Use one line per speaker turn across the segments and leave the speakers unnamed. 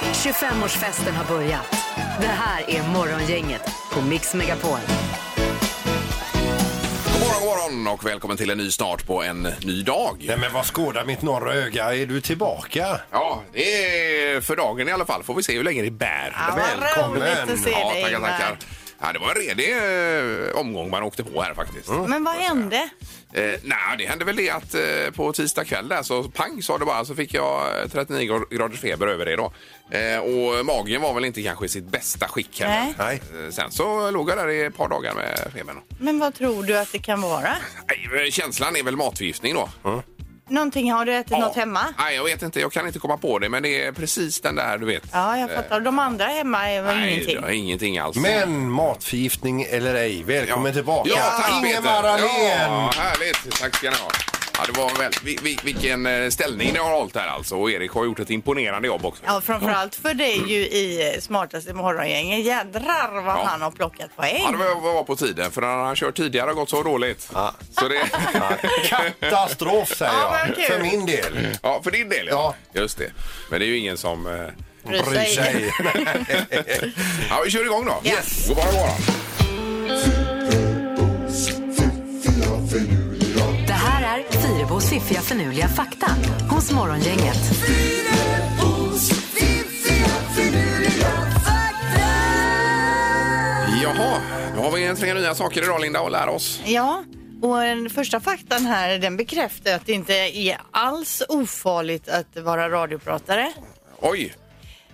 25-årsfesten har börjat. Det här är Morgongänget på Mix Megapol.
God morgon, god morgon och välkommen till en ny start på en ny dag.
Nej men vad skådar mitt norra öga? Är du tillbaka?
Ja, det är för dagen i alla fall. Får vi se hur länge det bär.
Välkommen.
roligt att se
Ja,
dig
tackar,
Ingmar.
tackar. Ja, det var en redig eh, omgång man åkte på här faktiskt.
Men vad hände?
Eh, nej, det hände väl det att eh, på tisdag kväll där så pang sa det bara så fick jag eh, 39 gra- graders feber över det då. Eh, och magen var väl inte kanske i sitt bästa skick heller.
Nej.
Eh, Sen så låg jag där i ett par dagar med febern.
Men vad tror du att det kan vara?
Nej, eh, Känslan är väl matförgiftning då.
Någonting, har du ätit något hemma?
Nej, jag vet inte. Jag kan inte komma på det, men det är precis den där du vet.
Ja, jag fattar. De andra hemma är väl
Nej,
ingenting?
det är ingenting alls.
Men matförgiftning eller ej, välkommen tillbaka.
Ja, tack
Ingemar Ahlén!
Ja, härligt. Tack ska ni ha. Ja, det var väl, vi, vi, vilken eh, ställning ni har hållit här alltså. Och Erik har gjort ett imponerande jobb också.
Ja, framförallt för dig ju i eh, smartaste morgongänget. Jädrar vad
Ja.
han har plockat poäng.
Ja, det var, var på tiden, för när han har kört tidigare har gått så dåligt.
Ja.
Så det,
Katastrof säger
Ja,
jag,
men kul.
för min del.
ja, för din del
Ja.
Just det. Men det är ju ingen som... eh,
Bryr sig.
Ja, vi kör igång då.
Ja.
God morgon, god morgon.
Det här är Fyrebos fiffiga förnuliga fakta hos Morgongänget.
Jaha, då har vi en tre nya saker idag Linda och lära oss.
Ja, och den första faktan här den bekräftar att det inte är alls ofarligt att vara radiopratare.
Oj,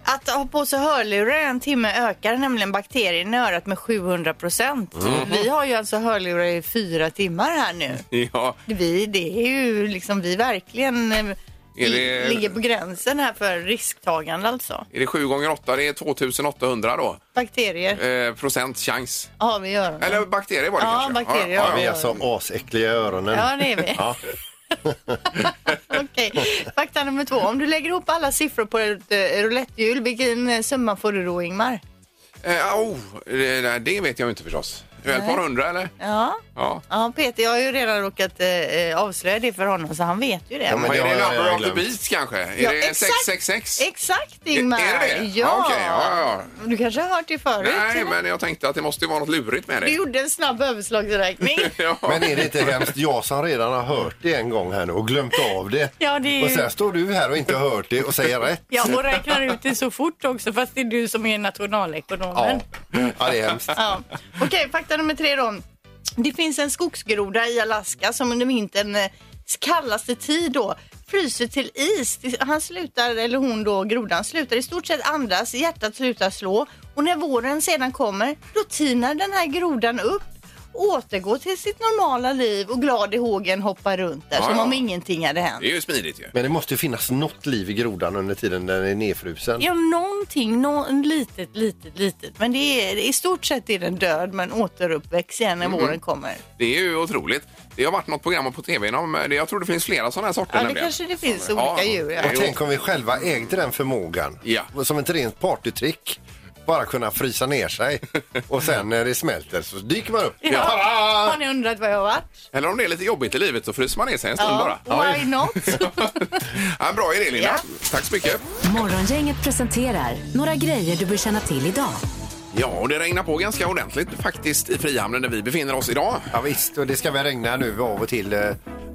Att ha på sig hörlurar en timme ökar nämligen bakterierna i örat med 700 procent.
Mhm.
Vi har ju alltså hörlurar i fyra timmar här nu.
ja,
Vi, det är ju liksom, vi verkligen eh,
Är det-
ligger på gränsen här för risktagande alltså.
är det sju gånger åtta? Det är 2800 då.
Bakterier
Eh, procent chans.
har vi i öronen.
Eller bakterier var det
Ja,
kanske?
bakterier.
Ja, ja,
Vi
ja.
är så asäckliga i öronen.
Ja, det är vi.
Ja.
Okej, fakta nummer två. Om du lägger ihop alla siffror på ett eh, roulettehjul, vilken eh, summa får du då Ingmar?
Eh, oh, det, nej, det vet jag ju inte förstås. Det är väl ett par hundra eller?
Ja.
Ja.
Ja, Peter, jag har ju redan råkat eh, eh, avslöja det för honom så han vet ju det.
Ja, men
Vad
det
är det
har jag
number of the
glömt.
beast kanske? Är
Ja,
det
exakt.
666?
Exakt Ingmar!
Är det det?
Ja.
Okej, ja, ja,
Du kanske har hört det förut?
Nej, men jag tänkte att det måste ju vara något lurigt med
Du
det.
gjorde en snabb överslagsräkning.
Ja.
Men är det inte hemskt? Jag som redan har hört det en gång här nu och glömt av det.
Ja, det är ju-
Och sen står du här och inte har hört det och säger rätt.
ja, och räknar ut det så fort också fast det är du som är nationalekonomen.
Ja, ja det är hemskt.
Ja. Okej, fakta nummer tre då. Det finns en skogsgroda i Alaska som under vintern eh, kallaste tid då fryser till is. Han slutar, eller hon då, grodan slutar i stort sett andas, hjärtat slutar slå och när våren sedan kommer då tinar den här grodan upp återgår till sitt normala liv och glad i hågen hoppar runt där
Ja,
som
ja.
om ingenting hade hänt.
Det är ju smidigt ju.
Men det måste ju finnas något liv i grodan under tiden den är nedfrusen.
Ja, någonting, någon litet, litet, litet. Men det är, i stort sett är den död men återuppväcks igen
Mhm.
när våren kommer.
Det är ju otroligt. Det har varit något program på tv om eh, det. Jag tror det finns flera sådana här sorter
Ja, det
nämligen.
kanske det finns olika djur. Ja.
Jo.
Tänk om vi själva ägde den förmågan.
Ja.
Som ett rent partytrick. Bara kunna frysa ner sig och sen när det smälter så dyker man upp.
Ja.
Tada!
Har ni undrat var jag har varit?
Eller om det är lite jobbigt i livet så fryser man ner sig en stund bara.
Why not?
Ja, en bra idé Linda.
Ja.
Tack så mycket.
Morgongänget presenterar några grejer du bör känna till idag.
Ja, och det regnar på ganska ordentligt faktiskt i Frihamnen där vi befinner oss idag.
Ja, visst, och det ska väl regna nu av och till eh,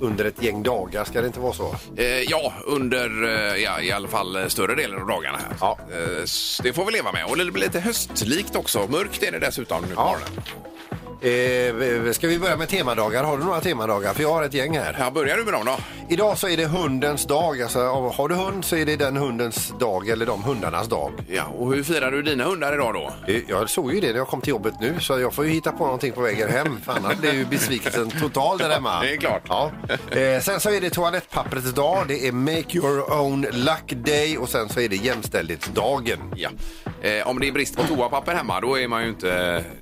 under ett gäng dagar, ska det inte vara så?
Eh, ja, under eh, ja, i alla fall eh, större delen av dagarna här.
Ja.
Eh, s- det får vi leva med. Och det blir lite höstlikt också. Mörkt är det dessutom nu på
Ja.
morgonen.
Eh, ska vi börja med temadagar? Har du några temadagar? För jag har ett gäng här.
Här börjar du med dem då.
Idag så är det hundens dag. Alltså, har du hund så är det den hundens dag eller de hundarnas dag.
Ja, och hur firar du dina hundar idag då?
Eh, Jag såg ju det när jag kom till jobbet nu så jag får ju hitta på någonting på vägen hem för annars blir ju besvikelsen total där hemma.
Det är klart.
Ja. Eh, sen så är det toalettpapprets dag, det är make your own luck day och sen så är det jämställdhetsdagen.
Ja. Eh, om det är brist på toapapper hemma då är man ju inte...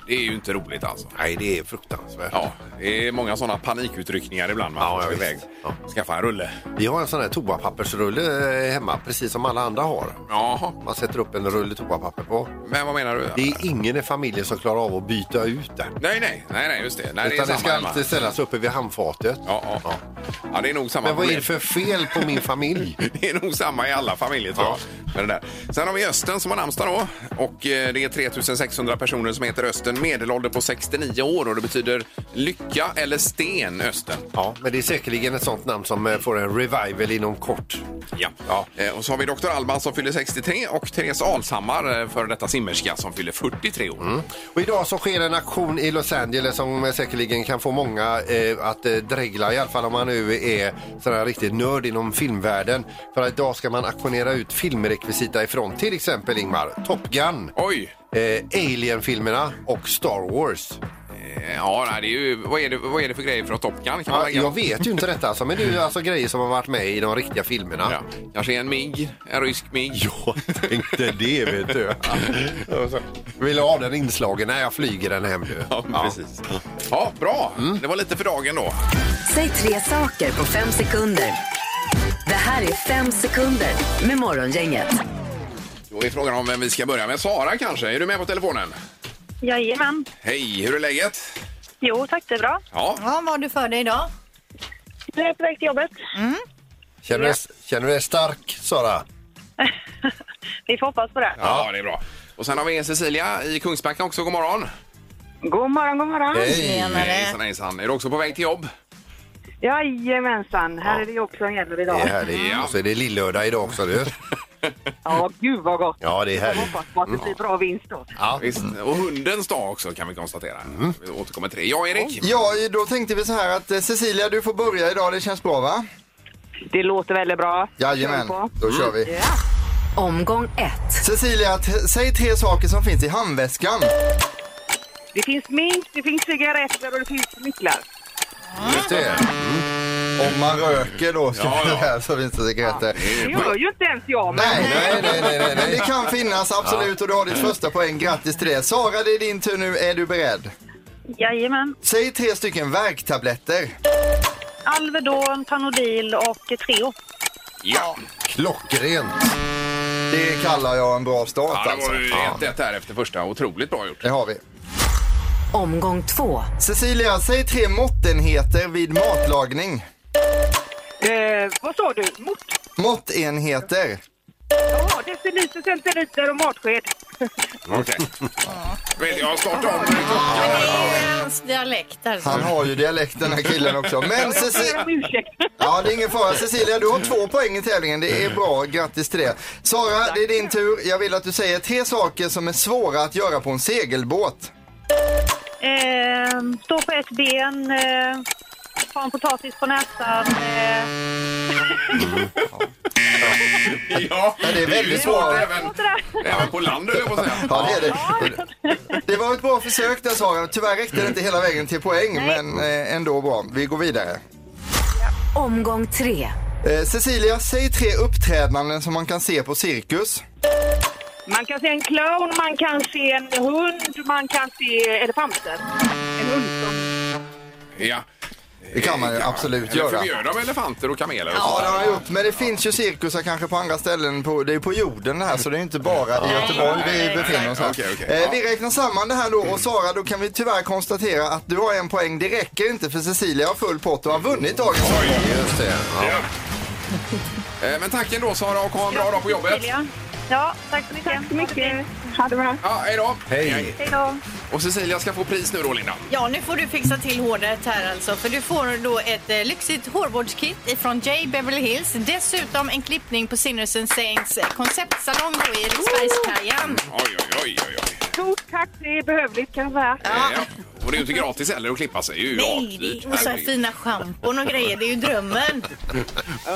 Det är ju inte roligt alltså.
Nej, det är fruktansvärt.
Ja, det är många sådana panikutryckningar ibland. Man
Ja,
ja,
ja,
ska
visst.
iväg. Skaffa en rulle.
Vi har en sån här toapappersrulle eh, hemma, precis som alla andra har.
Jaha,
Man sätter upp en rulle toapapper på.
men vad menar du?
Det är ingen i familjen som klarar av att byta ut den.
Nej, nej, nej, nej, just det. Nej, det är
Utan det
samma
ska
hemma.
alltid ställas uppe vid handfatet.
Ja, ja. Ja, det är nog samma
Men vad är
problem.
det för fel på min familj?
Det är nog samma i alla familjer tror jag. Med det där. Sen har vi Östen som har namnsdag då. Och eh, det är 3600 personer som heter Östen. Medelålder på 69 år och det betyder lycka eller sten, Östen.
Ja, men det är säkerligen ett sånt namn som eh, får en revival inom kort.
Ja. Eh, Och så har vi Dr. Alban som fyller 63 och Therese Alshammar, eh, före detta simmerska, som fyller 43 år.
Och idag så sker en aktion i Los Angeles som eh, säkerligen kan få många eh, att eh, dregla, i alla fall om man nu är sådär riktigt nörd inom filmvärlden. För att idag ska man auktionera ut filmrekvisita ifrån till exempel Ingmar, Top Gun,
Oj!
eh, Alien-filmerna och Star Wars.
Eh, Ja, nej, det är ju, vad, är det, vad är det för grejer från Top Gun? Kan man
Ja,
lägga?
jag vet ju inte detta, alltså, men det är ju alltså grejer som har varit med i de riktiga filmerna.
Ja. Kanske en MIG, en rysk MIG.
Jag tänkte det, vet du. Vill du ha den inslagen? Nej, jag flyger den hem nu.
Ja, precis. Ja, bra. Det var lite för dagen då.
Säg tre saker på fem sekunder. Det här är fem sekunder med Morgongänget.
Då är frågan om vem vi ska börja med. Sara kanske? Är du med på telefonen?
Jajamän.
Hej, hur är läget?
Jo, tack. Det är bra.
Ja,
Ja, vad har du för dig idag?
Jag är på väg till jobbet.
Känner, du, känner du dig stark, Sara?
Vi får hoppas på det.
ja. det är bra. Och sen har vi Cecilia i Kungsbacka också. God morgon.
God morgon, god morgon.
Hejsan, hejsan. Är du också på väg till jobb?
Jajamensan. Här är det jobb som gäller
Det
idag.
är härligt.
Ja.
Och så är det lillördag idag också. Du.
Ja, gud vad gott.
Ja, det är
Jag
härligt.
hoppas på att det blir bra vinst då.
Ja.
Visst. Och hundens dag också kan vi konstatera. Vi återkommer till det. Ja, Erik?
Ja, då tänkte vi så här att eh, Cecilia, du får börja idag. Det känns bra, va?
Det låter väldigt bra. Kör
Jajamän,
på.
då kör vi.
Ja.
Omgång ett.
Mm. Cecilia, t- säg tre saker som finns i handväskan.
Det finns mink, det finns cigaretter och det finns nycklar.
Just det.
Om man röker då, så,
Ja, ja.
här, så finns det cigaretter.
Det gör ju inte ens jag. Men...
Nej,
Nej, nej, nej, nej,
men det
nej.
kan finnas absolut och du har ditt första poäng. Grattis till det. Sara, det är din tur nu. Är du beredd?
Jajamän.
Säg tre stycken värktabletter.
Alvedon, Panodil och Treo.
Ja.
Klockrent.
Det kallar jag en bra start
ja, det
alltså.
var ju
Ja,
1-1 här efter första. Otroligt bra gjort.
det har vi.
Omgång två.
Cecilia, säg tre måttenheter vid matlagning.
Eh, vad sa du? Mot?
Måttenheter.
Ja, deciliter, centiliter och matsked.
Okej. Okay. Jag startar om.
Det är hans dialekt alltså.
Han har ju dialekt den här killen också. Men
Jag ber
Cecilia...
om ursäkt.
Ja, det är ingen fara. Cecilia, du har två poäng i tävlingen. Det är bra. Grattis till det. Sara, det är din tur. Jag vill att du säger tre saker som är svåra att göra på en segelbåt.
Eh, stå på ett ben, eh, ha en potatis på näsan. Eh,
Ja,
Ja, det är väldigt svårt.
Även,
sådär.
även på land, höll jag på att säga.
Ja, det är det. Det var ett bra försök där Sara. Tyvärr räckte det inte hela vägen till poäng, men eh, ändå bra. Vi går vidare.
Omgång tre.
Eh, Cecilia, säg tre uppträdanden som man kan se på cirkus.
Man kan se en clown, man kan se en hund, man kan se elefanter. En hund.
Ja.
Det kan man ju absolut
Eller
göra.
förbjöd de elefanter och kameler? Och
Ja,
sånt
det
där?
har jag gjort. Men det finns ju cirkusar kanske på andra ställen. På, det är på jorden det här, så det är inte bara i Göteborg vi befinner oss här.
Okej, okej.
Eh, Vi räknar samman det här då och Sara, då kan vi tyvärr konstatera att du har en poäng. Det räcker inte för Cecilia har full pott och har vunnit dagens omgång.
Just det. Ja.
Eh, Men tack ändå Sara och ha en bra dag på jobbet.
Ja, tack så mycket. Tack så mycket. Ha det bra.
Ja, hej då.
Hej.
Hej då.
Och Cecilia ska få pris nu då Linda.
Ja, nu får du fixa till håret här alltså. För du får då ett eh, lyxigt hårvårdskit ifrån J. Beverly Hills. Dessutom en klippning på Sinners and Saints konceptsalong då i Eriksbergskajen.
Oj, oj, oj, oj. oj. Eh,
Stort tack, det är behövligt kan jag säga.
Ja. Och det är ju inte gratis heller att klippa sig. Det är ju
Nej,
artigt.
det är- och så här
Herregud.
fina schampon och grejer. Det är ju drömmen.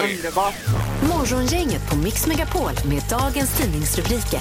Underbart.
Morgongänget på Mix Megapol med dagens tidningsrubriker.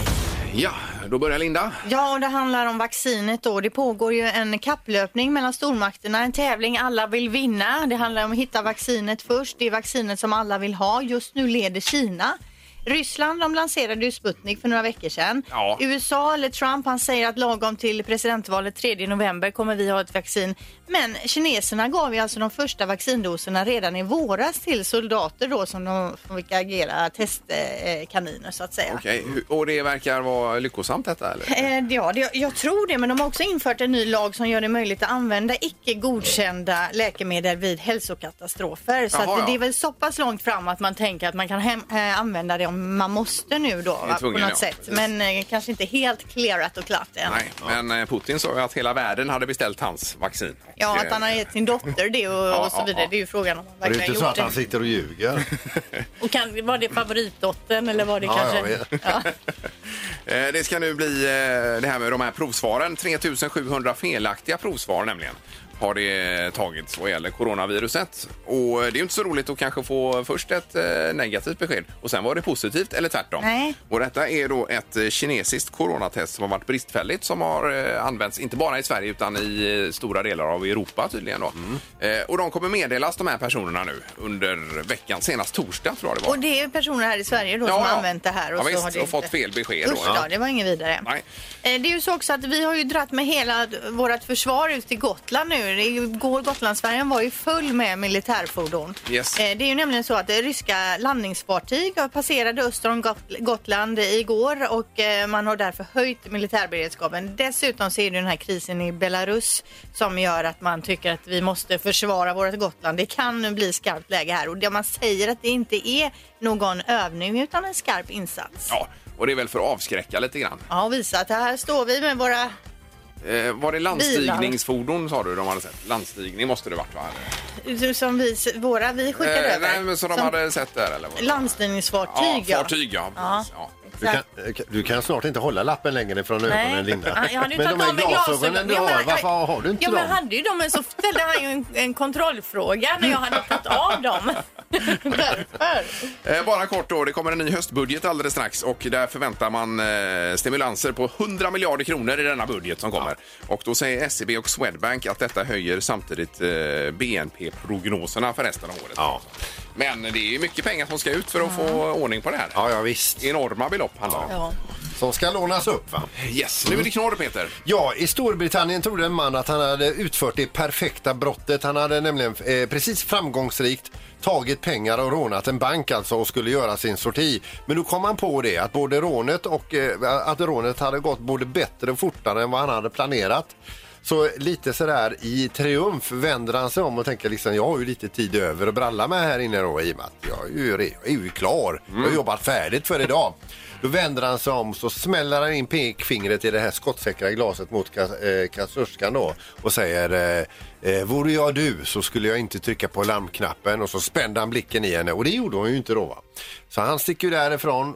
Ja, då börjar Linda.
Ja, och det handlar om vaccinet då. Det pågår ju en kapplöpning mellan stormakterna, en tävling alla vill vinna. Det handlar om att hitta vaccinet först, det är vaccinet som alla vill ha. Just nu leder Kina. Ryssland de lanserade ju Sputnik för några veckor sedan.
Ja.
USA eller Trump han säger att lagom till presidentvalet 3 november kommer vi ha ett vaccin. Men kineserna gav ju alltså de första vaccindoserna redan i våras till soldater då som de som fick agera testkaniner så att säga.
Okej, hu- och det verkar vara lyckosamt detta eller?
Eh, Ja, det, jag tror det, men de har också infört en ny lag som gör det möjligt att använda icke godkända läkemedel vid hälsokatastrofer. Så
Jaha,
att
ja.
det är väl så pass långt fram att man tänker att man kan hem, eh, använda det om man måste nu då, va,
tvungen,
på något
ja.
sätt. Men eh, kanske inte helt clearat och klart än.
Nej, men eh, Putin sa ju att hela världen hade beställt hans vaccin.
Ja,
Och,
att han har
eh,
gett sin dotter det och,
Ja,
och
ja,
så vidare.
ja.
Det är ju frågan om han
Det är ju
verkligen
inte så
gjort
att
det.
han sitter och ljuger.
Och kan, var det favoritdottern eller var det
Ja, jag
kanske...
vet.
Ja.
Eh, Det ska nu bli eh, det här med de här provsvaren. 3700 felaktiga provsvar nämligen har det tagits vad gäller coronaviruset. Och det är ju inte så roligt att kanske få först ett eh, negativt besked och sen var det positivt eller tvärtom.
Nej.
Och detta är då ett eh, kinesiskt coronatest som har varit bristfälligt som har eh, använts inte bara i Sverige utan i eh, stora delar av Europa tydligen då. Eh, Och de kommer meddelas de här personerna nu under veckan, senast torsdag tror jag det var.
Och det är personer här i Sverige då som har använt det här.
Och,
Och
ja,
så
visst,
har det
och
inte-
fått fel besked.
Usch
då.
då, det var inget vidare.
Nej.
Eh, Det är ju så också att vi har ju dratt med hela vårt försvar ut till Gotland nu. Det är ju- Går Gotlandsfärjan var ju full med militärfordon.
Yes.
Eh, Det är ju nämligen så att eh, ryska landningsfartyg passerade öster om Got- Gotland igår och eh, man har därför höjt militärberedskapen. Dessutom så är det ju den här krisen i Belarus som gör att man tycker att vi måste försvara vårt Gotland. Det kan nu bli skarpt läge här och det man säger att det inte är någon övning utan en skarp insats.
Ja, och det är väl för att avskräcka lite grann.
Ja, och visa att här står vi med våra...
Eh, var det landstigningsfordon sa du de hade sett? Landstigning måste det varit va? Eller?
Som vi, våra, vi skickade
Eh,
över.
nej, men som de hade sett där eller? vad?
Landstigningsfartyg,
ja. Fartyg ja. precis, ja.
Du kan, du kan snart inte hålla lappen längre från ögonen Linda.
jag hade ju
Men
tagit
de här
av mig
glasögonen
glasögonen.
du
Ja, men-
har, varför har du inte
Ja, men
dem?
jag hade ju dem, men så ställde han ju en, en kontrollfråga när jag hade tagit av dem.
Därför.
Eh, bara kort då, det kommer en ny höstbudget alldeles strax och där förväntar man eh, stimulanser på 100 miljarder kronor i denna budget som kommer. Och då säger SEB och Swedbank att detta höjer samtidigt eh, BNP-prognoserna för resten av året.
Ja.
Men det är ju mycket pengar som ska ut för att få ordning på det här.
Ja, ja visst.
Enorma belopp handlar det om.
Ja.
Som ska lånas upp va?
Yes, nu är det knorr Peter.
Ja, i Storbritannien trodde en man att han hade utfört det perfekta brottet. Han hade nämligen eh, precis framgångsrikt tagit pengar och rånat en bank alltså och skulle göra sin sorti. Men då kom han på det att både rånet och eh, att rånet hade gått både bättre och fortare än vad han hade planerat. Så lite sådär i triumf vänder han sig om och tänker liksom jag har ju lite tid över att bralla med här inne då i och med att jag är ju, re- jag är ju klar. Jag har jobbat färdigt för idag. Då vänder han sig om så smäller han in pekfingret i det här skottsäkra glaset mot ka- eh, kassörskan då och säger eh, eh, vore jag du så skulle jag inte trycka på larmknappen och så spände han blicken i henne och det gjorde hon ju inte då. Va? Så han sticker ju därifrån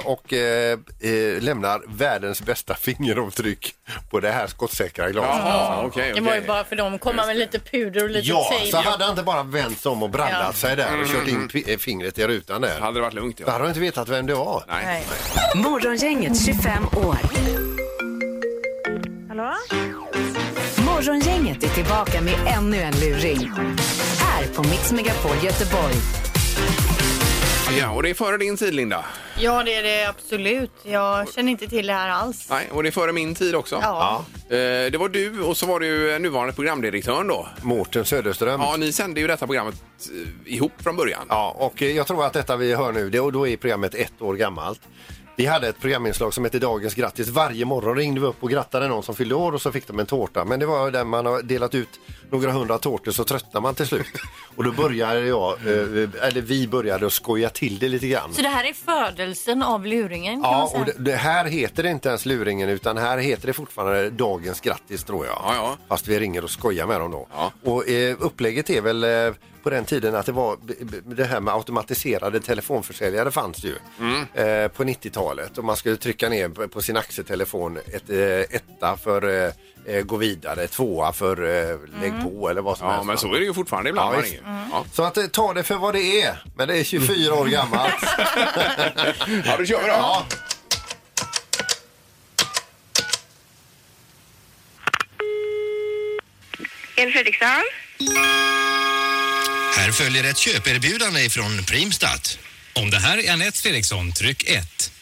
eh, och eh, eh, lämnar världens bästa fingeravtryck på det här skottsäkra glaset.
Jaha, okej.
Det
okej.
var ju bara för dem, komma med lite puder och lite
Ja,
tejp.
så hade han inte bara vänt sig om och brallat
Ja.
sig där
Mm.
och kört in pi- eh, fingret i rutan där.
Hade det varit lugnt?
Då
Ja.
hade han inte vetat vem det var.
Nej.
Nej.
Morgongänget 25 år.
Hallå?
Morgongänget är tillbaka med ännu en luring. Här på Mix Megapol Göteborg.
Ja, och det är före din tid, Linda.
ja, det är det absolut. Jag känner inte till det här alls.
Nej, och det är före min tid också.
Ja.
Eh, det var du och så var det ju nuvarande programdirektören då.
Mårten Söderström.
Ja, ni sände ju detta programmet eh, ihop från början.
Ja, och eh, jag tror att detta vi hör nu, det, och då är programmet ett år gammalt. Vi hade ett programinslag som hette Dagens grattis. Varje morgon ringde vi upp och grattade någon som fyllde år och så fick de en tårta. Men det var där man har delat ut några hundra tårtor så tröttnar man till slut. Och då började jag, eh, eller vi började att skoja till det lite grann.
Så det här är födelsen av luringen kan man
Ja,
säga.
och det, det här heter det inte ens luringen utan här heter det fortfarande Dagens grattis tror jag.
Ja, ja.
Fast vi ringer och skojar med dem då.
Ja.
Och eh, upplägget är väl eh, på den tiden att det var b- b- det här med automatiserade telefonförsäljare fanns det ju
Mm.
eh, på 90-talet och man skulle trycka ner på- på sin axeltelefon ett, eh, etta för eh, eh, gå vidare, tvåa för eh, lägg
Mm.
på eller vad som
Ja,
helst.
men så är det ju fortfarande ibland.
Ja,
man
visst.
ringer. ja.
Så att eh, ta det för vad det är, men det är 24 år gammalt.
ja, då kör vi då.
Mm. Ja.
Elin Fredriksson?
Här följer ett köperbjudande ifrån Primstat. Om det här är Anette Fredriksson, tryck 1.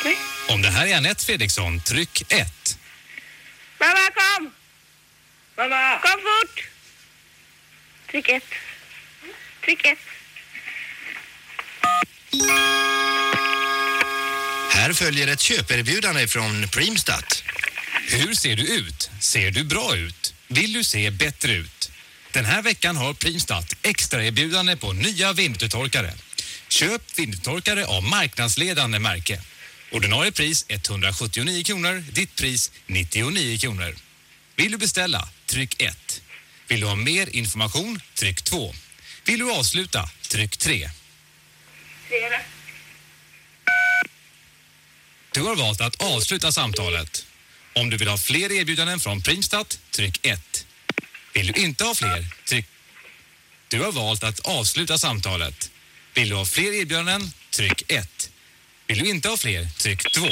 Okej.
Om det här är Anette Fredriksson, tryck 1.
Mamma, kom! Mamma! Kom fort! Tryck ett. Tryck ett.
Här följer ett köperbjudande från Primstat.
Hur ser du ut? Ser du bra ut? Vill du se bättre ut? Den här veckan har Primstat extraerbjudande på nya vindrutetorkare. Köp vindrutetorkare av marknadsledande märke. Ordinarie pris 179 kronor, ditt pris 99 kronor. Vill du beställa? Tryck 1. Vill du ha mer information? Tryck 2. Vill du avsluta? Tryck 3. Du har valt att avsluta samtalet. Om du vill ha fler erbjudanden från Primstat, tryck 1. Vill du inte ha fler, tryck... Du har valt att avsluta samtalet. Vill du ha fler erbjudanden, tryck 1. Vill du inte ha fler, tryck 2.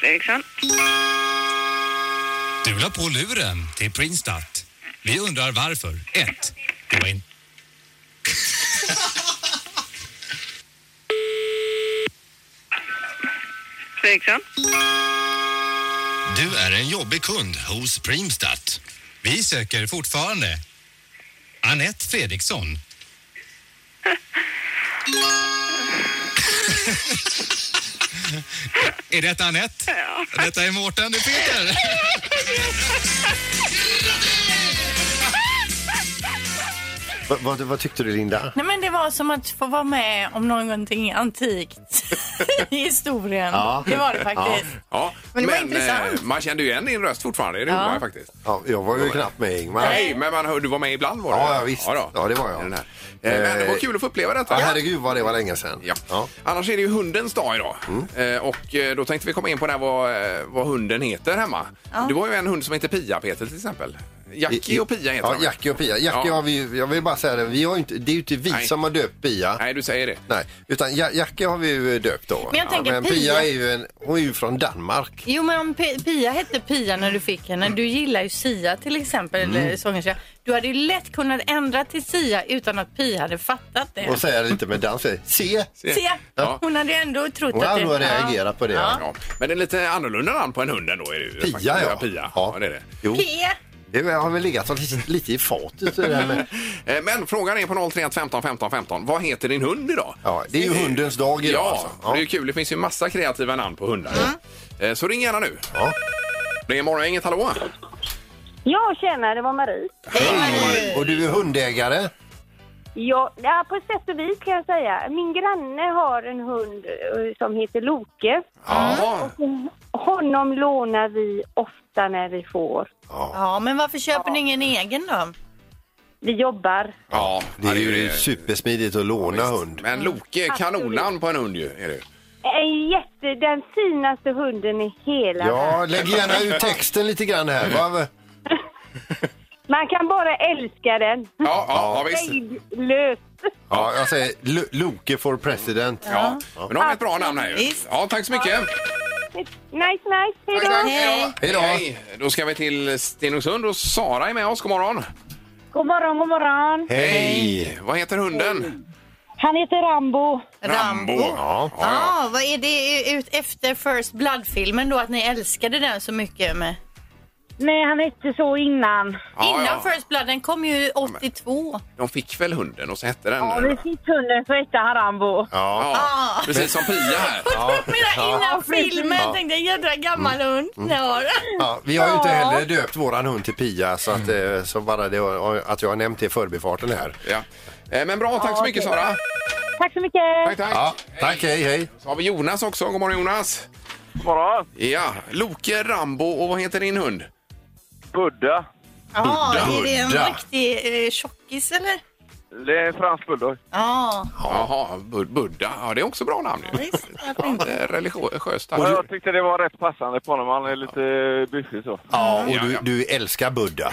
Fredriksson.
Du la på luren till Primstat. Vi undrar varför. 1. Det var in...
Fredriksson.
Du är en jobbig kund hos Primstat.
Vi söker fortfarande Anette Fredriksson. är detta Anette? Ja. Detta är Mårten, det är Peter.
Vad, vad, vad tyckte du Linda?
Nej, men det var som att få vara med om någonting antikt i historien.
Ja.
Det var det faktiskt.
Ja, eh,
Men det var intressant.
man kände ju igen din röst fortfarande. Det gjorde man ju faktiskt.
Ja, jag var ju knappt med Ingmar.
Nej, men man hör, du var med ibland var du?
Ja, ja, visst.
då.
Ja, det var jag.
Den här. Eh, Men det var kul att få uppleva
Ja,
detta.
herregud vad det var länge sedan.
Ja. Annars är det ju hundens dag idag.
Mm.
Eh, och eh, då tänkte vi komma in på det här vad, eh, vad hunden heter hemma. Det var ju en hund som heter Pia, Peter, till exempel. Jackie och Pia heter
Ja,
de.
Jackie och Pia. Jackie
Ja.
har vi ju- jag vill bara säga det, vi har ju inte, det är ju inte vi
Nej.
som har döpt Pia. Nej.
Nej, du säger det.
utan Ja- Jackie har vi ju döpt då.
Men jag tänker
men Pia,
Pia-
är ju en, hon är ju från Danmark.
Jo, men om P- Pia hette Pia när du fick henne. Du gillar ju Sia till exempel, mm. sångerskan. Du hade ju lätt kunnat ändra till Sia utan att Pia hade fattat det.
Och säger lite med dans. säger, Se!
Sia,
Ja.
hon hade ju ändå trott
Hon
att
har
det...
nog reagerat på det.
Ja.
Ja. Men det är lite annorlunda namn på en hund ändå. Är det ju,
Pia
faktiskt.
ja.
Pia.
Ja.
Ja, det är det.
Jo,
P.
det har väl legat som lite, lite i fatet. så det här med-
Eh, Men frågan är på 031 15 15 15. Vad heter din hund idag?
Ja, det är ju hundens dag idag.
Ja,
alltså.
det är ju kul. Det finns ju massa kreativa namn på hundar. Eh, Så ring gärna nu.
Ja.
Det är Morgongänget, hallå!
Ja, tjena, det var Marie.
Och du är hundägare?
Ja, ja, på sätt och vis kan jag säga. Min granne har en hund eh, som heter Loke.
Ja.
Honom lånar vi ofta när vi får.
Ja, men varför köper ni ingen egen då?
Vi jobbar.
Ja,
Det är ju supersmidigt att låna hund.
Men Loke, kanonnamn på en hund ju. Är det. ju.
En jätte, den finaste hunden i hela världen.
Ja, lägg gärna ut texten lite grann här.
Mm.
Va?
Man kan bara älska den.
Ja, ja, ja visst.
Hejdlöst.
Ja, jag säger Lo- Loke for president.
Ja. Men då har vi ett bra namn här ju.
Visst.
Ja, tack så mycket.
Nice, nice. Hej då.
Hej
Hej då.
Hej. Då ska vi till Stenungsund och Sara är med oss. God morgon.
God morgon, god morgon.
Hej! Vad heter hunden?
Han heter Rambo.
Rambo. Ja.
Ja,
Ja,
vad är det ut efter First Blood-filmen då? Att ni älskade den så mycket med...
Nej, han hette så innan.
ja.
Innan First Blood, den kom ju 82.
De fick väl hunden och så hette den...
Ja, vi fick hunden så hette han Rambo.
Ja.
Ja, precis som Pia här.
Mera innan filmen tänkte jag, jädra gammal hund. Ja.
Ja, vi har ju inte heller döpt våran hund till Pia så att,
Mm.
eh, så bara det, att jag har nämnt det i förbifarten här.
Ja. Eh, Men bra, tack så mycket Sara.
Tack så mycket.
Tack, tack.
Ja, tack, hej, hej.
Så har vi Jonas också. God morgon Jonas.
morgon.
Ja, Loke, Rambo och vad heter din hund?
Budda.
Ja, Ah, är det en
Udda.
riktig eh, tjockis eller?
Det är en fransk bulldog.
Ja,
Jaha, Bud- Buddha. Ja, det är också bra namn ju.
visst. Varför inte?
Eh, Religiöst.
Ja,
tack.
jag tyckte det var rätt passande på honom. Han är lite busig så.
Ja, och
Ja,
du,
ja.
du älskar Buddha.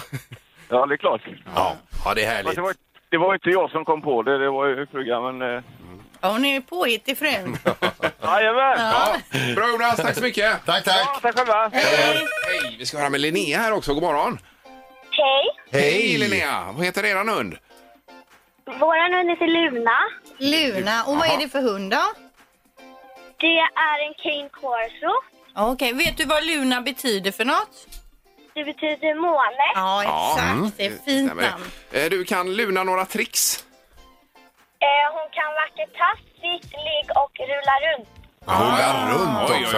Ja, det är klart.
Ja, ja det är
Men
härligt.
det, var, det var inte jag som kom på det, det var ju frugan. Men eh,
Ja, hon är påhittig frun.
Jajamän!
Ja. Bra Jonas, tack så mycket!
Tack, tack.
Ja, tack själva!
Hej, vi ska höra med Linnea här också. God morgon!
Hej!
Hej Linnea! Vad heter eran hund?
Våran hund heter Luna.
Luna. Och vad är det för hund då?
Det är en cane corso.
Ja, Okej, vet du vad Luna betyder för något?
Det betyder måne.
Ja, exakt.
Mm.
Det är fint
Stämmer det.
namn.
Eh, Du kan luna några tricks.
Eh, hon kan vacka tass, sitt, ligg och rulla runt.
Hon är runt
Oj, oj, oj.
också.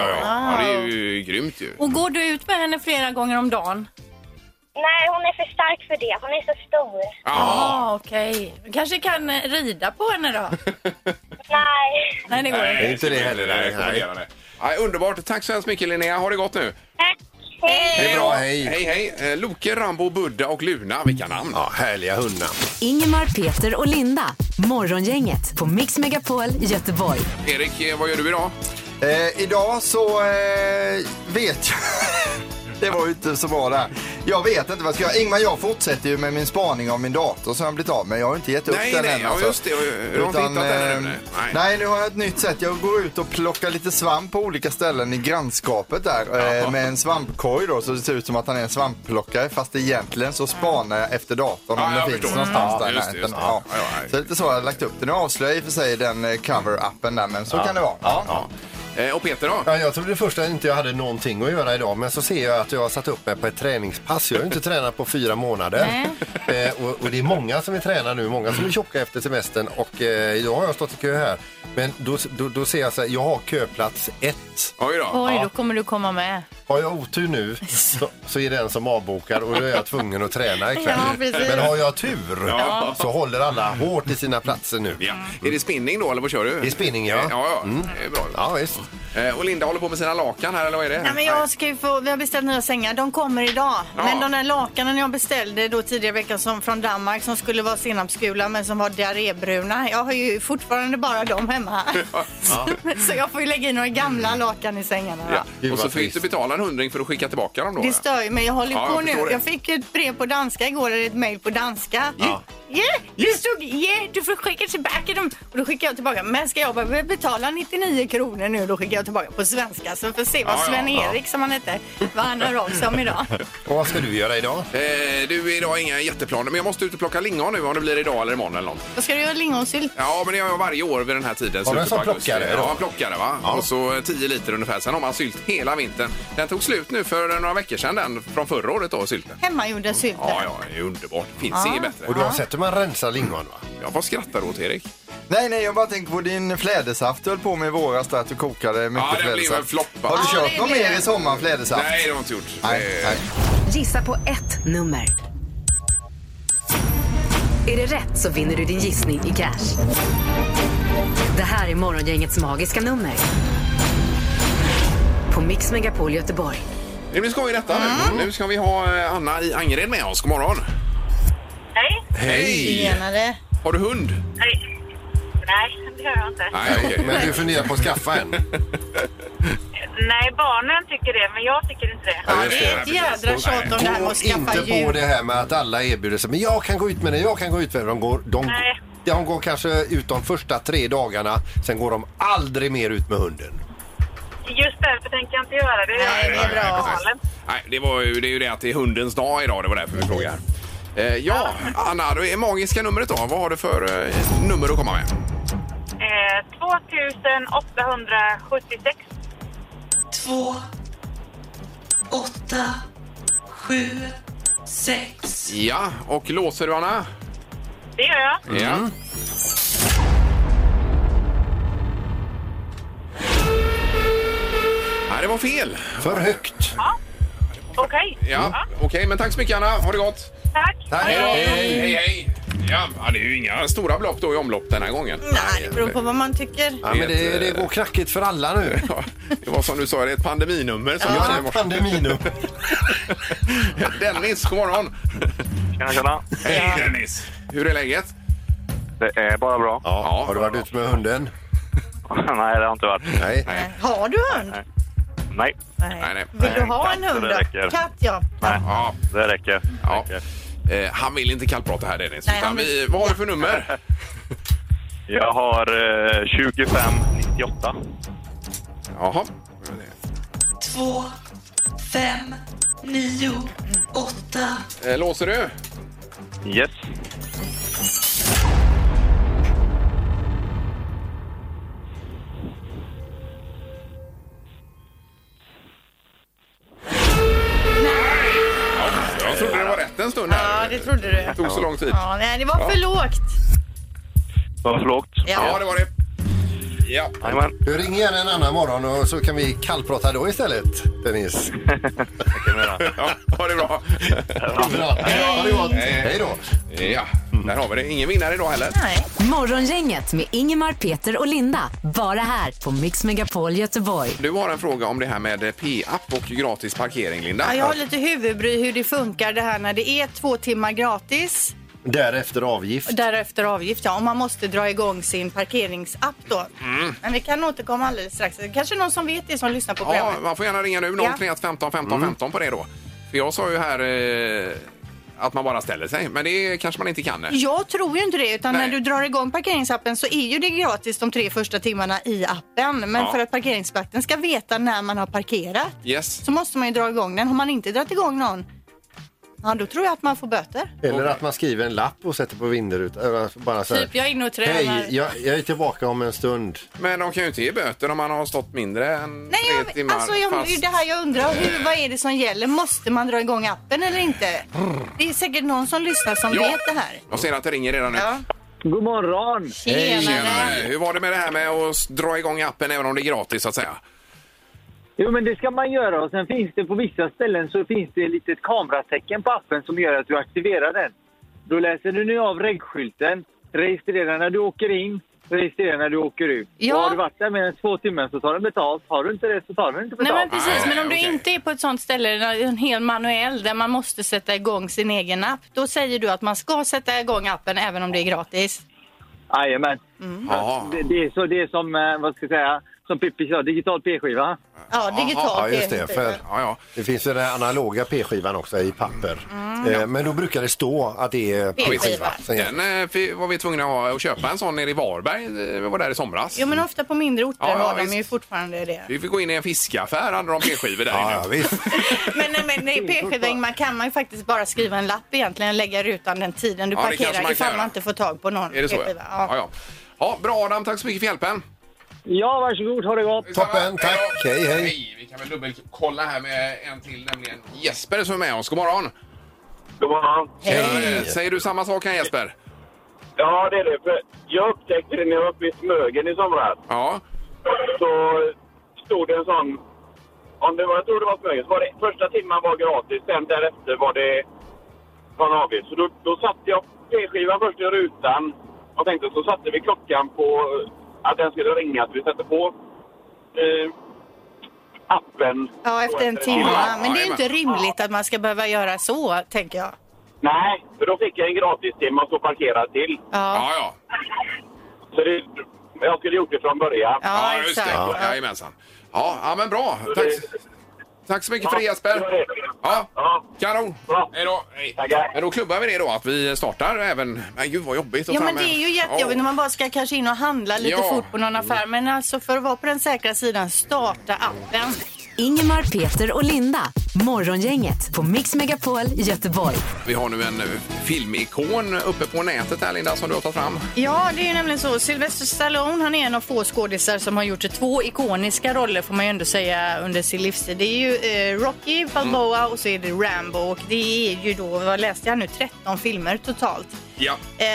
Ja,
Ah.
det är ju grymt ju.
Och går du ut med henne flera gånger om dagen?
Nej, hon är för stark för det. Hon är så stor.
Ja.
ah, okej. Du kanske kan eh, rida på henne då?
Ah. Nej.
Nej, det går inte.
är inte det heller, nej.
Nej. Eh, Nej, underbart. Tack så hemskt mycket Linnea. Ha det gott nu.
Tack. Hej!
Det är bra, hej.
Hej, hej. Eh, Loke, Rambo, Budda och Luna. Vilka namn.
Ja, härliga hundar.
Ingemar, Peter och Linda. Morgongänget på Mix Megapol Göteborg.
Erik, eh, vad gör du idag?
Eh, idag så eh, vet jag... det var ju inte så bra där. Jag vet inte vad jag ska göra. Ingmar, jag fortsätter ju med min spaning av min dator som jag blivit av med. Jag har ju inte gett upp
Nej,
den
nej,
än.
ja,
alltså.
just det. Jag har inte hittat den ännu,
eh,
nej. Nej.
nej. nu har jag ett nytt sätt. Jag går ut och plockar lite svamp på olika ställen i grannskapet där. Eh, med en svampkorg då, så det ser ut som att han är en svampplockare. Fast egentligen så spanar jag efter datorn
Ja,
om
jag
den finns
förstår.
någonstans
Ja,
där i
just det,
närheten.
just det.
Ja.
Ja, ja, ja.
Så det är lite så jag har lagt upp det. Nu avslöjar jag i och för sig den eh, cover-appen där, men så kan det vara. Ja.
Eh, Och Peter då?
Ja, jag trodde först att inte jag hade någonting att göra idag men så ser jag att jag har satt upp mig på ett träningspass. Jag har ju inte tränat på fyra månader. Eh, och, och det är många som vill träna nu, många som är tjocka efter semestern och eh, idag har jag stått i kö här. Men då, då, då ser jag så här, jag har köplats ett.
Oj då.
Oj, då kommer du komma med.
Har jag otur nu så, så är det en som avbokar och då är jag tvungen att träna ikväll.
Ja, precis.
men har jag tur
Ja.
så håller alla hårt i sina platser nu.
Ja. Är det spinning då, eller vad kör du?
Det är spinning
Ja,
ja. Mm.
ja. Det är bra.
Ja, visst.
Eh, Och Linda håller på med sina lakan här, eller vad är det?
Nej, men jag ska ju få, vi har beställt nya sängar. De kommer idag.
Ja.
Men de där lakanen jag beställde då tidigare i veckan som, från Danmark som skulle vara senapsgula men som var diarrébruna. Jag har ju fortfarande bara dem hemma. så jag får ju lägga in några gamla lakan i sängarna. va?
Ja.
Gud,
Och så
vad
fick du
trist.
betala en hundring för att skicka tillbaka dem då?
Det stör ju mig. Jag håller
Ja,
på
jag
nu.
förstår det.
Jag fick ett brev på danska igår, eller ett mejl på danska. Ja. Det stod yeah, du får skicka tillbaka dem. Och då skickade jag tillbaka. Men ska jag bara betala 99 kronor nu? Då skickar jag tillbaka på svenska. Så vi får se vad
Ja, ja,
Sven-Erik, som han heter, vad han hör av sig om idag.
Och vad ska du göra idag?
Eh, du, idag har inga jätteplaner, men jag måste ut och plocka lingon nu om det blir idag eller imorgon eller något.
Då ska du göra lingonsylt.
Ja, men det gör jag varje år vid den här tiden.
Har du en
slutet på
sån
augusti.
plockare då?
Ja, en plockare va. Och så 10 liter ungefär. Sen har man sylt hela vintern. Den tog slut nu för några veckor sedan, den från förra året då, sylten.
Hemmagjorda sylten.
Ja, ja, det är underbart. Finns inget bättre.
Och du har sett hur man rensar lingon va?
Ja, vad skrattar du åt, Erik?
Nej, nej, jag bara tänker på din flädersaft du höll på med i våras där att du kokade mycket
Ja, den blev en
flädersaft.
flopp. va?
Har du
Ja, det
köpt någon
blev
mer
det.
i sommar, flädersaft?
Nej, det har jag inte gjort.
nej.
Eh,
nej.
Gissa på ett nummer. Är det rätt så vinner du din gissning i cash. Det här är Morgongängets magiska nummer. På Mix Megapol Göteborg.
Det blir skoj detta nu.
Mm.
Nu ska vi ha eh, Anna i Angered med oss. God morgon.
Hej!
Hej!
Tjenare.
Har du hund?
Hej! Nej, det gör jag inte.
Nej, okej.
Men du funderar på att skaffa en?
Nej, barnen tycker det, men jag tycker inte det.
Ja, det är ett jädra tjat om det här med
Gå
att skaffa
inte på
djur.
det här med att alla erbjuder sig. Men jag kan gå ut med den, jag kan gå ut med den. De går, de,
Nej.
de går kanske ut de första tre dagarna. Sen går de aldrig mer ut med hunden.
Just därför tänker jag inte göra det.
Nej, det är bra.
Galen.
Nej, det, var ju, det är ju det att det är hundens dag idag. Det var därför vi frågar. Eh, ja, Anna, det är magiska numret då. Vad har du för eh, nummer att komma med?
Eh, 2876.
två, åtta, sju, sex.
Ja, och låser du, Anna?
Det gör jag.
Ja. Nej, det var fel.
För högt.
Okej.
Ja, okej, men tack så mycket Anna. Ha det gott.
Tack.
Hej, hej, hej, hej. Ja, ja, det är ju inga stora belopp då i omlopp den här gången.
Nej, det beror på vad man tycker.
Ja, men det, det går knackigt för alla nu.
Ja, det var som du sa, det är ett pandeminummer. Som
Ja,
jag
det är
bort.
pandemi nu.
Dennis, god morgon.
Tjena, tjena.
Hej Dennis. Hur är läget?
Det är bara bra.
Ja, har du varit ute med hunden?
Nej, det har inte varit.
Nej.
Har du hund?
Nej,
Nej, nej.
Vill du ha en
katt,
hund
det
då?
räcker.
Katt, ja.
Ja,
det räcker.
ja. Eh, han vill inte kallprata här Dennis.
Nej,
utan
han vill-
vi, vad har du för nummer?
Jag har eh, 2598.
Jaha.
två, fem, nio, åtta.
Eh, Låser du?
Yes.
Jag trodde det var rätt en stund. Här.
Ja, det trodde du.
Det tog så lång tid.
Ja, nej, det var för lågt.
Var för lågt?
Ja.
det var det. Ja.
Du ringer igen en annan morgon och så kan vi kallprata då istället, Denise.
ja, ha det bra.
Ha det gott. Hej då.
Ja, där har vi det. Ingen vinnare idag heller.
Morgongänget med Ingemar, Peter och Linda. Bara här på Mix Megapol Göteborg.
Du har en fråga om det här med p-app och gratis parkering, Linda.
Ja, jag har lite huvudbry hur det funkar det här när det är två timmar gratis.
Därefter avgift.
Och därefter avgift, ja. Om man måste dra igång sin parkeringsapp då. Men vi kan återkomma alldeles strax. Det kanske är någon som vet det som lyssnar på
Mm. Ja,
programmet.
man får gärna ringa nu.
Ja.
031 15 15 15 på det då. För jag sa ju här eh, att man bara ställer sig, men det kanske man inte kan. eh.
Jag tror ju inte det, utan
Nej.
när du drar igång parkeringsappen så är ju det gratis de tre första timmarna i appen. Men
Ja.
för att parkeringsvakten ska veta när man har parkerat
Yes.
så måste man ju dra igång den. Har man inte dragit igång någon, ja då tror jag att man får böter.
Eller att man skriver en lapp och sätter på vinderutan. Eller Bara så här,
Typ, jag är inne och tränar.
Hej, jag, jag är tillbaka om en stund.
Men de kan ju inte ge böter om man har stått mindre än
Nej,
tre
jag,
timmar.
alltså jag, det är ju
fast...
det här jag undrar. Hur, vad är det som gäller? Måste man dra igång appen eller inte? Det är säkert någon som lyssnar som
Ja.
vet det här.
Jag ser att det ringer redan nu.
Ja.
God morgon!
Tjenare. Hur var det med det här med att s- dra igång appen även om det är gratis så att säga?
Jo, men det ska man göra. Och sen finns det på vissa ställen så finns det ett litet kameratecken på appen som gör att du aktiverar den. Då läser du nu av regskylten, registrerar när du åker in, registrerar när du åker ut.
Ja.
Och har du varit där mer än två timmar så tar den betalt. Har du inte det så tar den inte
Nej
betalt.
men precis, men om du inte är på ett sånt ställe, där det är en hel manuell där man måste sätta igång sin egen app, då säger du att man ska sätta igång appen även om det är gratis.
Jajamän.
Mm.
Ja.
Det, det, är så, det är som, eh, vad ska jag säga, som Pippi sa, digital p-skiva.
Ja,
Ja,
digitalt.
just det. För
ja, ja.
Det finns ju den analoga p-skivan också i papper.
Mm.
Eh, Men då brukar det stå att det är p-skiva. som gäller.
Den eh, fi- var vi tvungna att ha och köpa en sån nere i Varberg. eh, Vi var där i somras.
Jo men ofta på mindre orter
Ja, ja,
har de
visst.
ju fortfarande det.
Vi fick gå in i en fiskaffär, hade de p-skivor där inne. Ja,
visst.
Men, nej, men nej, p-skiving, man kan man ju faktiskt bara skriva en lapp egentligen och lägga rutan den tiden du
Ja, det kanske man
parkerar
kan
ifall
göra.
man inte får tag på någon
Är det så? Ja.
p-skiva.
Ja, ja. ja, bra Adam. Tack så mycket för hjälpen.
Ja, varsågod. Ha det gott.
Toppen, tack. Hej, hej.
Vi kan väl dubbelkolla här med en till, nämligen Jesper som är med oss. God morgon!
God morgon!
Hej. Eh, Säger du samma sak här Jesper?
Ja, det är det. För jag upptäckte det när jag var uppe i Smögen i somras.
Ja.
Så stod det en sån... Om det var, jag tror det var Smögen. Så var det, första timman var gratis, sen därefter var det var en avgift. Så då, då satte jag p-skivan först i rutan och tänkte så satte vi klockan på att den skulle ringa, att vi sätter på eh, appen.
Ja, efter en timme.
Ja,
men det är
jajamän.
inte rimligt att man ska behöva göra så, tänker jag.
Nej, för då fick jag en gratis timme och så parkerad till.
Ja.
ja.
Så det, jag skulle gjort det från början.
Ja, just det. Ja. Jajamensan. Ja, ja, men bra. Tack, tack så mycket för det Jesper. Ja, kanon. Hej då. Hej. Men då klubbar vi det då, att vi startar även... Men gud vad jobbigt att
Ja
ta
men
med-
det är ju jättejobbigt när man bara ska kanske in och handla lite
Ja.
fort på någon affär. Men alltså för att vara på den säkra sidan, starta appen.
Ingemar, Peter och Linda. Morgongänget på Mix Megapol Göteborg.
Vi har nu en eh, filmikon uppe på nätet här Linda som du har tagit fram.
Ja, det är ju nämligen så. Sylvester Stallone, han är en av få skådisar som har gjort två ikoniska roller får man ju ändå säga under sin livstid. Det är ju eh, Rocky Balboa och så är det Rambo och det är ju då, vad läste jag nu, 13 filmer totalt.
Ja.
Eh,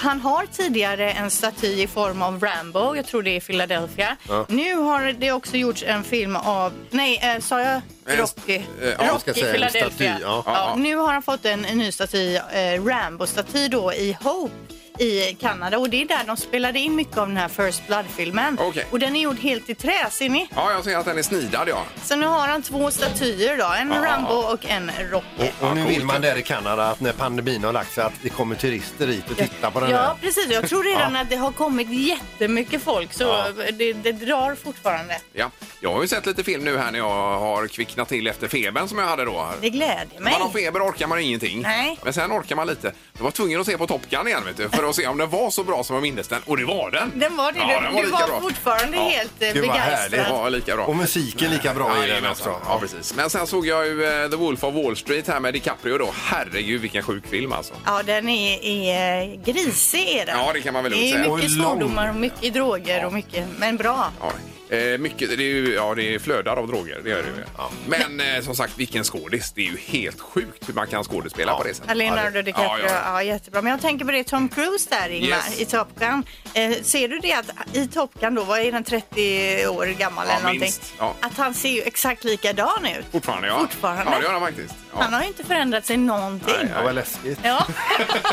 han har tidigare en staty i form av Rambo, jag tror det är i Philadelphia.
Ja.
Nu har det också gjorts en film av, nej eh, sa jag
En st-
Rocky?
eh, ja, jag
Rocky
ska säga en
Philadelphia.
staty, ja.
Ja.
Ja, ja.
Nu har han fått en, en ny staty, eh, Rambo-staty då i Hope i Kanada och det är där de spelade in mycket av den här First Blood-filmen.
Okej.
Och den är gjord helt i trä, ser ni?
Ja, jag ser att den är snidad ja.
Så nu har han två statyer då, en
Ja.
Rambo och en Rocky.
Och, och nu vill man där i Kanada att när pandemin har lagt sig att det kommer turister hit och tittar på den
Ja,
här.
precis. Jag tror redan att det har kommit jättemycket folk så
Ja.
det, det drar fortfarande.
Ja, jag har ju sett lite film nu här när jag har kvicknat till efter febern som jag hade då.
Det gläder mig.
När man har feber orkar man ingenting.
Nej.
Men sen orkar man lite. Jag var tvungen att se på Top Gun igen vet du, för och se om den var så bra som jag minns den. Och det var den!
Den var det.
Ja,
du
den
var,
var
du
lika bra.
var fortfarande helt eh,
Gud vad
begeistrad.
härligt. Ja, lika bra.
Och musiken lika bra i den
Jajamensan.
också.
Ja, precis. Men sen såg jag ju eh, The Wolf of Wall Street här med DiCaprio då. Herregud vilken sjuk film alltså.
Ja, den är, är grisig är den.
Ja, det kan man väl lugnt
Det
säga.
är
Och
mycket
lång.
svordomar och mycket droger och mycket, men bra.
Ja. Eh, mycket, det är ju, ja det flödar av droger, det gör det ju.
Mm.
Ja. Men eh, som sagt, vilken skådis. Det är ju helt sjukt hur man kan skådespela på det sättet.
Leonardo DiCaprio, ja,
Ja, ja.
jättebra. Men jag tänker på det Tom Cruise där Ingmar,
Yes.
i Top Gun. Eh, ser du det att i Top Gun då, vad är den 30 år gammal
Ja,
eller någonting?
minst. Ja.
Att han ser ju exakt likadan ut.
Fortfarande ja.
Fortfarande.
Ja, det gör han faktiskt. Ja.
Han har ju inte förändrat sig någonting.
Ja, vad läskigt.
Ja,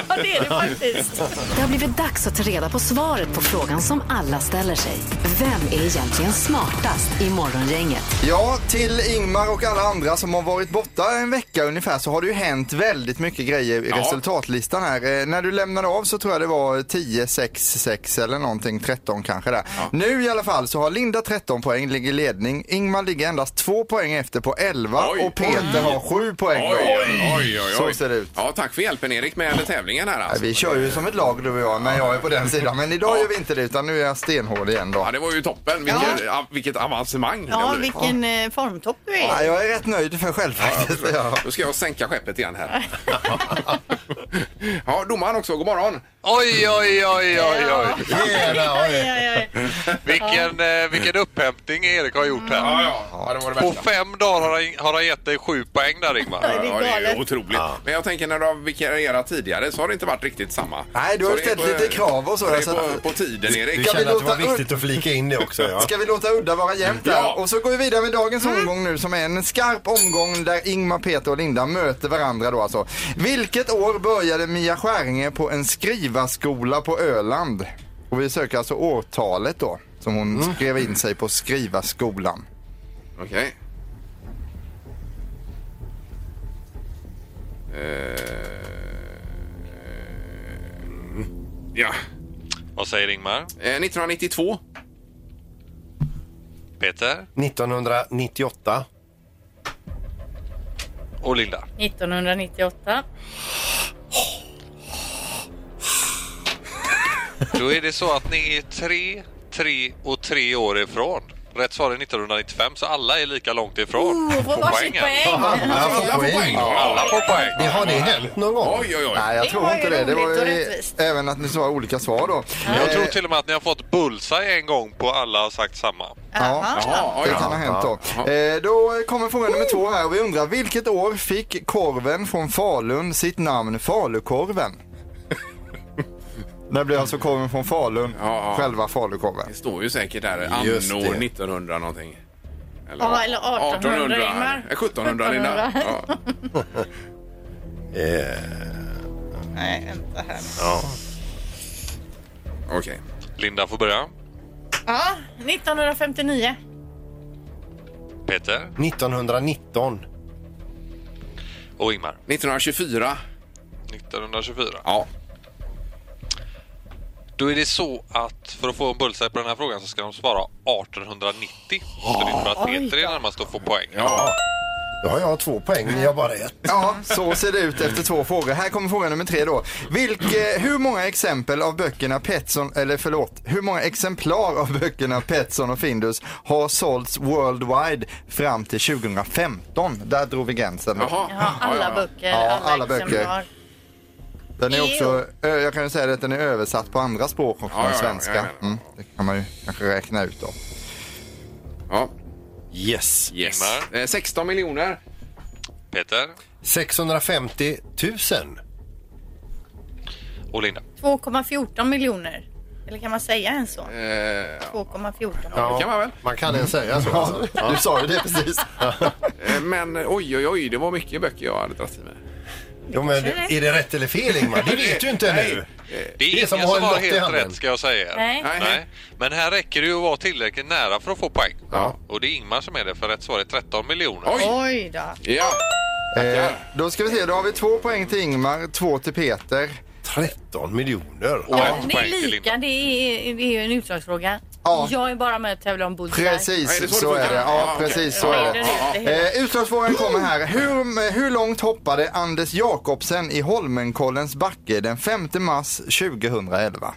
det är det faktiskt.
Det har blivit dags att ta reda på svaret på frågan som alla ställer sig. Vem är egentligen smartast i Morgongänget?
Ja, till Ingmar och alla andra som har varit borta en vecka ungefär så har det ju hänt väldigt mycket grejer i
Ja.
resultatlistan här. Eh, när du lämnade av så tror jag det var 10, 6, 6 eller någonting, 13 kanske där. Nu i alla fall så har Linda 13 poäng, ligger i ledning. Ingmar ligger endast 2 poäng efter på 11 och Peter har 7 poäng. då.
Oj, oj, oj, oj.
Så ser det ut.
Ja, tack för hjälpen Erik med tävlingen här alltså.
Vi kör ju som ett lag du och jag när jag är på den sidan. Men idag gör vi inte det utan nu är jag stenhård igen då.
Ja, det var ju toppen. Vilket, ja. vilket avancemang. det har
Ja,
blivit.
vilken eh, formtopp du är.
Ja, jag är rätt nöjd för själv faktiskt. Ja.
Då ska jag sänka skeppet igen här. ja, domaren också. God morgon.
Oj, oj, oj, oj, oj.
oj.
Vilken, eh, vilken upphämtning Erik har gjort här. På fem dagar har han, har han gett dig sju poäng där Ingmar.
Ja, det är ju otroligt. Men jag tänker när du har vikarierat tidigare så har det inte varit riktigt samma.
Nej, du har
Så det är
ställt
på-
lite krav och så.
Det
Så
är på,
att-
på tiden, Erik.
Du Ska känner vi att det var låta- viktigt
att flika in det också. Ja.
Ska vi låta udda vara jämnt där?
Ja.
Och så går vi vidare med dagens omgång nu som är en skarp omgång där Ingmar, Peter och Linda möter varandra då alltså. Vilket år började Mia Skäringe på en skrivarskola på Öland? Och vi söker alltså årtalet då som hon skrev in sig på skrivarskolan.
Okej. Eh, mm. Ja. Eh,
Vad säger Ingmar?
1992.
Peter
1998.
och Linda.
1998.
Då är det så att ni är tre, tre och tre år ifrån. Rätt svar är 1995 så alla är lika långt ifrån.
Oh, vad varsitt poäng.
alltså.
Alla
får poäng.
Alla får poäng.
Det har det hänt någon gång?
Oj, oj, oj.
Nej, jag
Det
tror
var
inte
ju
det. Det
roligt
var
och
ju
rättvist.
även att ni svarar olika svar då.
Jag tror typ- till och med att ni har fått bullseye en gång på alla har sagt samma.
Ja, det kan ha hänt då. Eh, då kommer fråga nummer två här och vi undrar vilket år fick korven från Falun sitt namn Falukorven? Det blir alltså korven från Falun, själva falukorven.
Det står ju säkert där
Just
anno
det.
1900 någonting.
Ja, eller 1800 Ingmar.
Eh, 1700 Linda. Ja.
Eh,
Nej, vänta här.
Ja.
Okej.
Linda får börja.
Ja, 1959.
Peter
1919.
och Ingmar.
1924.
1924.
Ja.
Då är det så att för att få en bullseye på den här frågan så ska de svara 1890. Så det innebär att Peter är närmast att få poäng.
Då har jag två poäng, ni har bara ett.
Ja, så ser det ut efter två frågor. Här kommer fråga nummer tre då. Vilke, hur många exempel av böckerna Petson, eller förlåt, hur många exemplar av böckerna Petson och Findus har sålts worldwide fram till 2015? Där drog vi gränsen. då.
Ja, alla böcker,
Ja,
alla,
alla böcker.
exemplar.
Den är också, ö, jag kan ju säga det att den är översatt på andra språk också
Ja,
än
ja, ja,
svenska.
jag
mm, det kan man ju kanske räkna ut då.
Ja.
Yes.
yes. Eh, 16 miljoner.
Peter
650 000.
och Linda.
2,14 miljoner. Eller kan man säga en så?
Eh,
2,14.
det kan man väl.
Man kan ens säga så. alltså. Ja.
Du sa ju det precis.
Eh, Men oj, oj, oj, det var mycket böcker jag hade dragit i mig.
Jo, men är det rätt eller fel Ingmar? Det vet du inte nu.
Det är
Det är
ingen
som
som
att ha en
har
lott i
helt
handen.
rätt ska jag säga er.
Nej. Nej.
Men här räcker det ju att vara tillräckligt nära för att få poäng. Och det är Ingmar som är det för rätt svar är 13 miljoner.
Oj då.
Ja.
Eh, då ska vi se, då har vi två poäng till Ingmar, två till Peter.
13 miljoner.
Ja, det är lika, det är, det är ju en utslagsfråga.
Ja.
Jag är bara med och tävlar om bullseye.
Precis, så är det. Ja, precis så är det. Eh, Utslagsfrågan kommer här. Hur, eh, hur långt hoppade Anders Jakobsen i Holmenkollens backe den 5 mars 2011?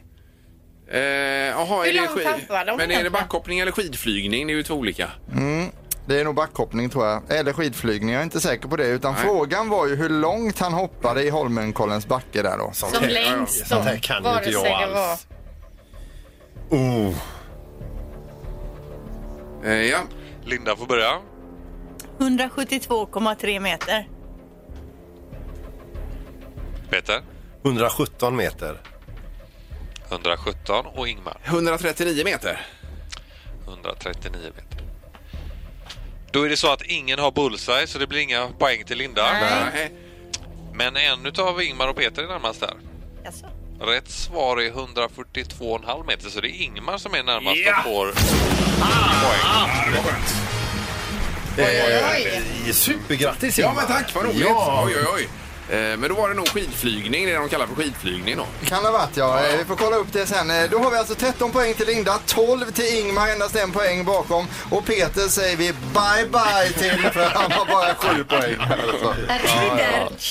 Eh, jaha,
Hur
är det
långt tappar
Men
de
är det
egentligen?
backhoppning eller skidflygning? Det är ju två olika.
Mm. Det är nog backhoppning tror jag, eller skidflygning, jag är inte säker på det. Utan frågan var ju hur långt han hoppade i Holmenkollens backe där då.
Som längst då. vare sig det var-
Oh.
Eh, ja.
Linda får börja.
172,3 meter.
Peter.
117 meter.
117 och Ingmar.
139 meter.
139 meter. Då är det så att ingen har bullseye så det blir inga poäng till Linda.
Nej.
Men en utav Ingmar och Peter är närmast där. Rätt svar är 142,5 meter så det är Ingmar som är närmast
Ja.
och får...
Eh, Supergrattis
Ja,
Ingmar.
men tack, vad roligt.
Ja.
Oj, oj, oj. Eh, Men då var det nog skidflygning, det de kallar för skidflygning då.
Kan ha varit ja. Eh, Vi får kolla upp det sen. Eh, Då har vi alltså 13 poäng till Linda, 12 till Ingmar, endast en poäng bakom. Och Peter säger vi bye bye till för han har bara 7 poäng. Alltså.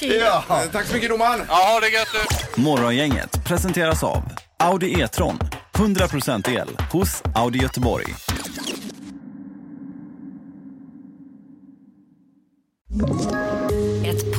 Ja.
Eh, Tack så mycket domaren.
Ja, det är gött nu.
Morgongänget presenteras av Audi E-tron. 100% el hos Audi Göteborg.
Ett